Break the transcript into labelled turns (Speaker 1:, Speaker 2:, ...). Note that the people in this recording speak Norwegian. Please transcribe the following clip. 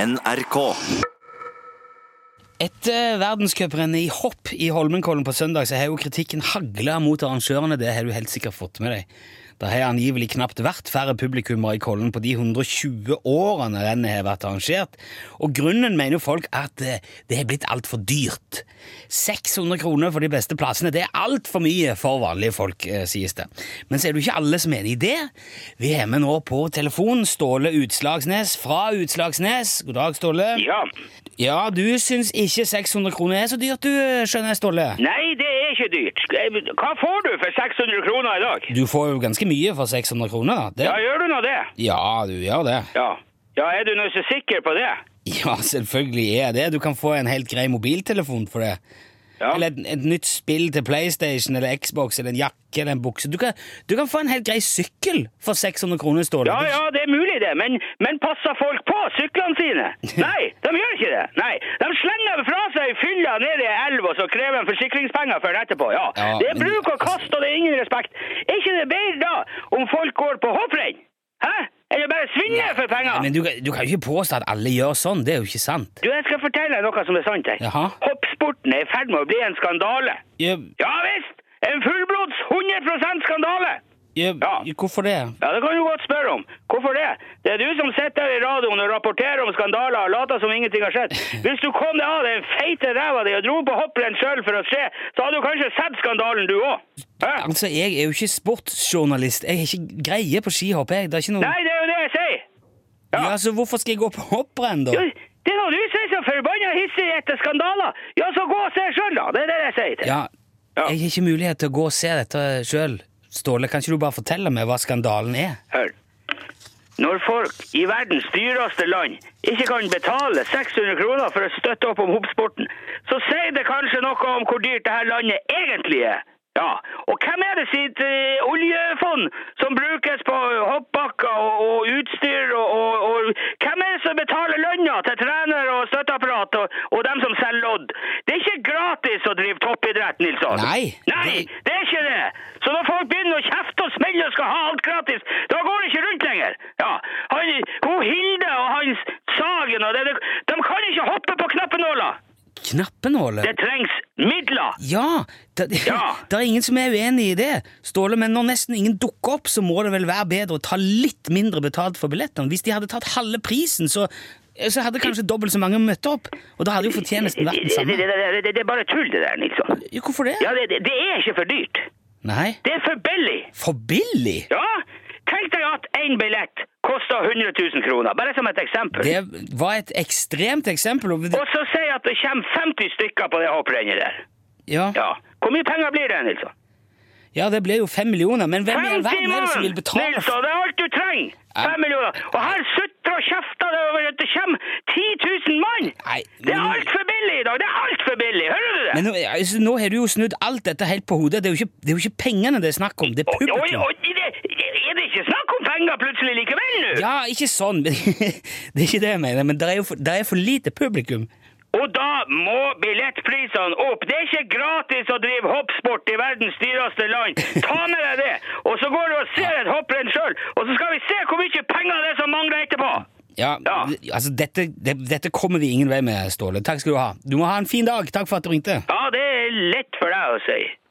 Speaker 1: NRK.
Speaker 2: Etter verdenscuprennet i hopp i Holmenkollen på søndag, så har jo kritikken hagla mot arrangørene. Det har du helt sikkert fått med deg. Det har angivelig knapt vært færre publikummere i Kollen på de 120 årene rennet har vært arrangert. Og grunnen mener jo folk at eh, det har blitt altfor dyrt. 600 kroner for de beste plassene, det er altfor mye for vanlige folk, eh, sies det. Men så er det jo ikke alle som er enig i det. Vi har med nå på telefon Ståle Utslagsnes fra Utslagsnes. God dag, Ståle.
Speaker 3: Ja.
Speaker 2: Ja, du syns ikke 600 kroner er så dyrt, du, skjønner jeg, Stålle.
Speaker 3: Nei, det er ikke dyrt. eh, Hva får du for 600 kroner i dag?
Speaker 2: Du får jo ganske mye for 600 kroner, da. Det,
Speaker 3: Ja, gjør du nå det?
Speaker 2: ja, du gjør det.
Speaker 3: Ja. Ja, er du nå så sikker på det?
Speaker 2: Ja, selvfølgelig er det. Du kan få en helt grei mobiltelefon for det.
Speaker 3: Ja.
Speaker 2: Eller et, et nytt spill til PlayStation eller Xbox eller en jakke eller en bukse. Du kan, du kan få en helt grei sykkel for 600 kroner, Ståle.
Speaker 3: Ja, ja, det er mulig det, men, men passer folk på syklene sine? Nei, de gjør ikke det. Nei, De slenger fra seg i fylla ned i ei elv, og så krever de forsikringspenger for det etterpå. Ja,
Speaker 2: Ja,
Speaker 3: Det er
Speaker 2: men-
Speaker 3: bruk og kast, og det er ingen respekt. Er ikke det bedre da om folk går på hopprenn? Hæ? Eller bare svinner for
Speaker 2: Nei,
Speaker 3: penger?
Speaker 2: Men du, kan- du kan jo ikke påstå at alle gjør sånn. Det er jo ikke sant.
Speaker 3: Du, Jeg skal fortelle deg noe som er sant her.
Speaker 2: Jaha.
Speaker 3: Hoppsporten er i ferd med å bli en skandale.
Speaker 2: Jeg,
Speaker 3: Ja visst! En fullblods 100 skandale!
Speaker 2: jeg,
Speaker 3: Ja.
Speaker 2: Hvorfor det?
Speaker 3: Ja, Det kan du godt spørre om. Hvorfor det? Det er du som sitter her i radioen og rapporterer om skandaler og later som ingenting har skjedd. Hvis du kom deg av den feite ræva di og dro på hopprenn sjøl for å se, så hadde du kanskje sett skandalen, du òg.
Speaker 2: Altså, Jeg er jo ikke sportsjournalist. Jeg har ikke greie på skihopp. jeg. Det er ikke noe...
Speaker 3: Nei, det er jo det jeg sier!
Speaker 2: Ja, så hvorfor skal jeg gå på hopprenn, da?
Speaker 3: Jo, Det er noe du sier som forbanna hissig etter skandaler. Ja, så gå og se sjøl, da! Det er det jeg sier til deg.
Speaker 2: Ja, jeg har ikke mulighet til å gå og se dette sjøl. Ståle, kan ikke du bare fortelle meg hva skandalen er?
Speaker 3: Hør. Når folk i verdens dyreste land ikke kan betale 600 kroner for å støtte opp om hoppsporten, så sier det kanskje noe om hvor dyrt dette landet egentlig er. Ja, Og hvem er det sitt eh, oljefond som brukes på hoppbakker og, og utstyr? Og, og, og hvem er det som betaler lønna til trener og støtteapparat og, og dem som selger lodd? Det er ikke gratis å drive toppidrett, Nils Arne.
Speaker 2: Nei,
Speaker 3: Nei,
Speaker 2: det-
Speaker 3: det er ikke det! Så når folk begynner å kjefte og smelle og skal ha alt gratis, da går det ikke rundt lenger! Ja, han, hun Hilde og hans Sagen og det, det, de kan ikke hoppe på knappenåla!
Speaker 2: Knappenåler?
Speaker 3: Det trengs midler!
Speaker 2: Ja! Det,
Speaker 3: Ja.
Speaker 2: det er ingen som er uenig i det, Ståle, men når nesten ingen dukker opp, så må det vel være bedre å ta litt mindre betalt for billettene. Hvis de hadde tatt halve prisen, så, så hadde kanskje dobbelt så mange møtt opp, og da hadde jo fortjenesten vært den
Speaker 3: Det,
Speaker 2: samme.
Speaker 3: det, det, det, det er bare tull, det der, Nilsson.
Speaker 2: Jo, hvorfor det?
Speaker 3: Ja, det, det, det er ikke for dyrt.
Speaker 2: Nei?
Speaker 3: Det er for billig!
Speaker 2: For billig?
Speaker 3: Ja! Tenk deg at én billett koster 100 000 kroner, bare som et eksempel.
Speaker 2: Det var et ekstremt eksempel. og-
Speaker 3: Og så sier jeg at det kommer 50 stykker på det hopprennet der.
Speaker 2: Ja.
Speaker 3: Ja. Hvor mye penger blir det, Nilsson?
Speaker 2: Ja, det ble jo fem millioner, men hvem i all
Speaker 3: Fem
Speaker 2: verden er det som vil betale?
Speaker 3: Nilsson, det er alt du trenger!
Speaker 2: Ja.
Speaker 3: Fem millioner. Og her sutrer og kjefter det over at det kommer 10 000 mann!
Speaker 2: Nei,
Speaker 3: Det er
Speaker 2: men-
Speaker 3: altfor billig i dag! Det er altfor billig! Hører du det?
Speaker 2: Men nå, altså, nå har du jo snudd alt dette helt på hodet. Det er jo ikke, det er jo ikke pengene det er snakk om, det er
Speaker 3: Og- og-
Speaker 2: publikum.
Speaker 3: og- det- er det ikke snakk om penger plutselig likevel nå?
Speaker 2: Ja, ikke sånn. men Det er ikke det jeg mener, men det er jo for, det er for lite publikum.
Speaker 3: Og da må billettprisene opp! Det er ikke gratis å drive hoppsport i verdens dyreste land! Ta med deg det! Og så går du og ser et hopprenn sjøl, og så skal vi se hvor mye penger det er som mangler etterpå!
Speaker 2: Ja,
Speaker 3: Ja.
Speaker 2: altså dette, det, dette kommer vi ingen vei med, Ståle. Takk skal du ha. Du må ha en fin dag. Takk for at du ringte.
Speaker 3: Ja, det er lett for deg å si.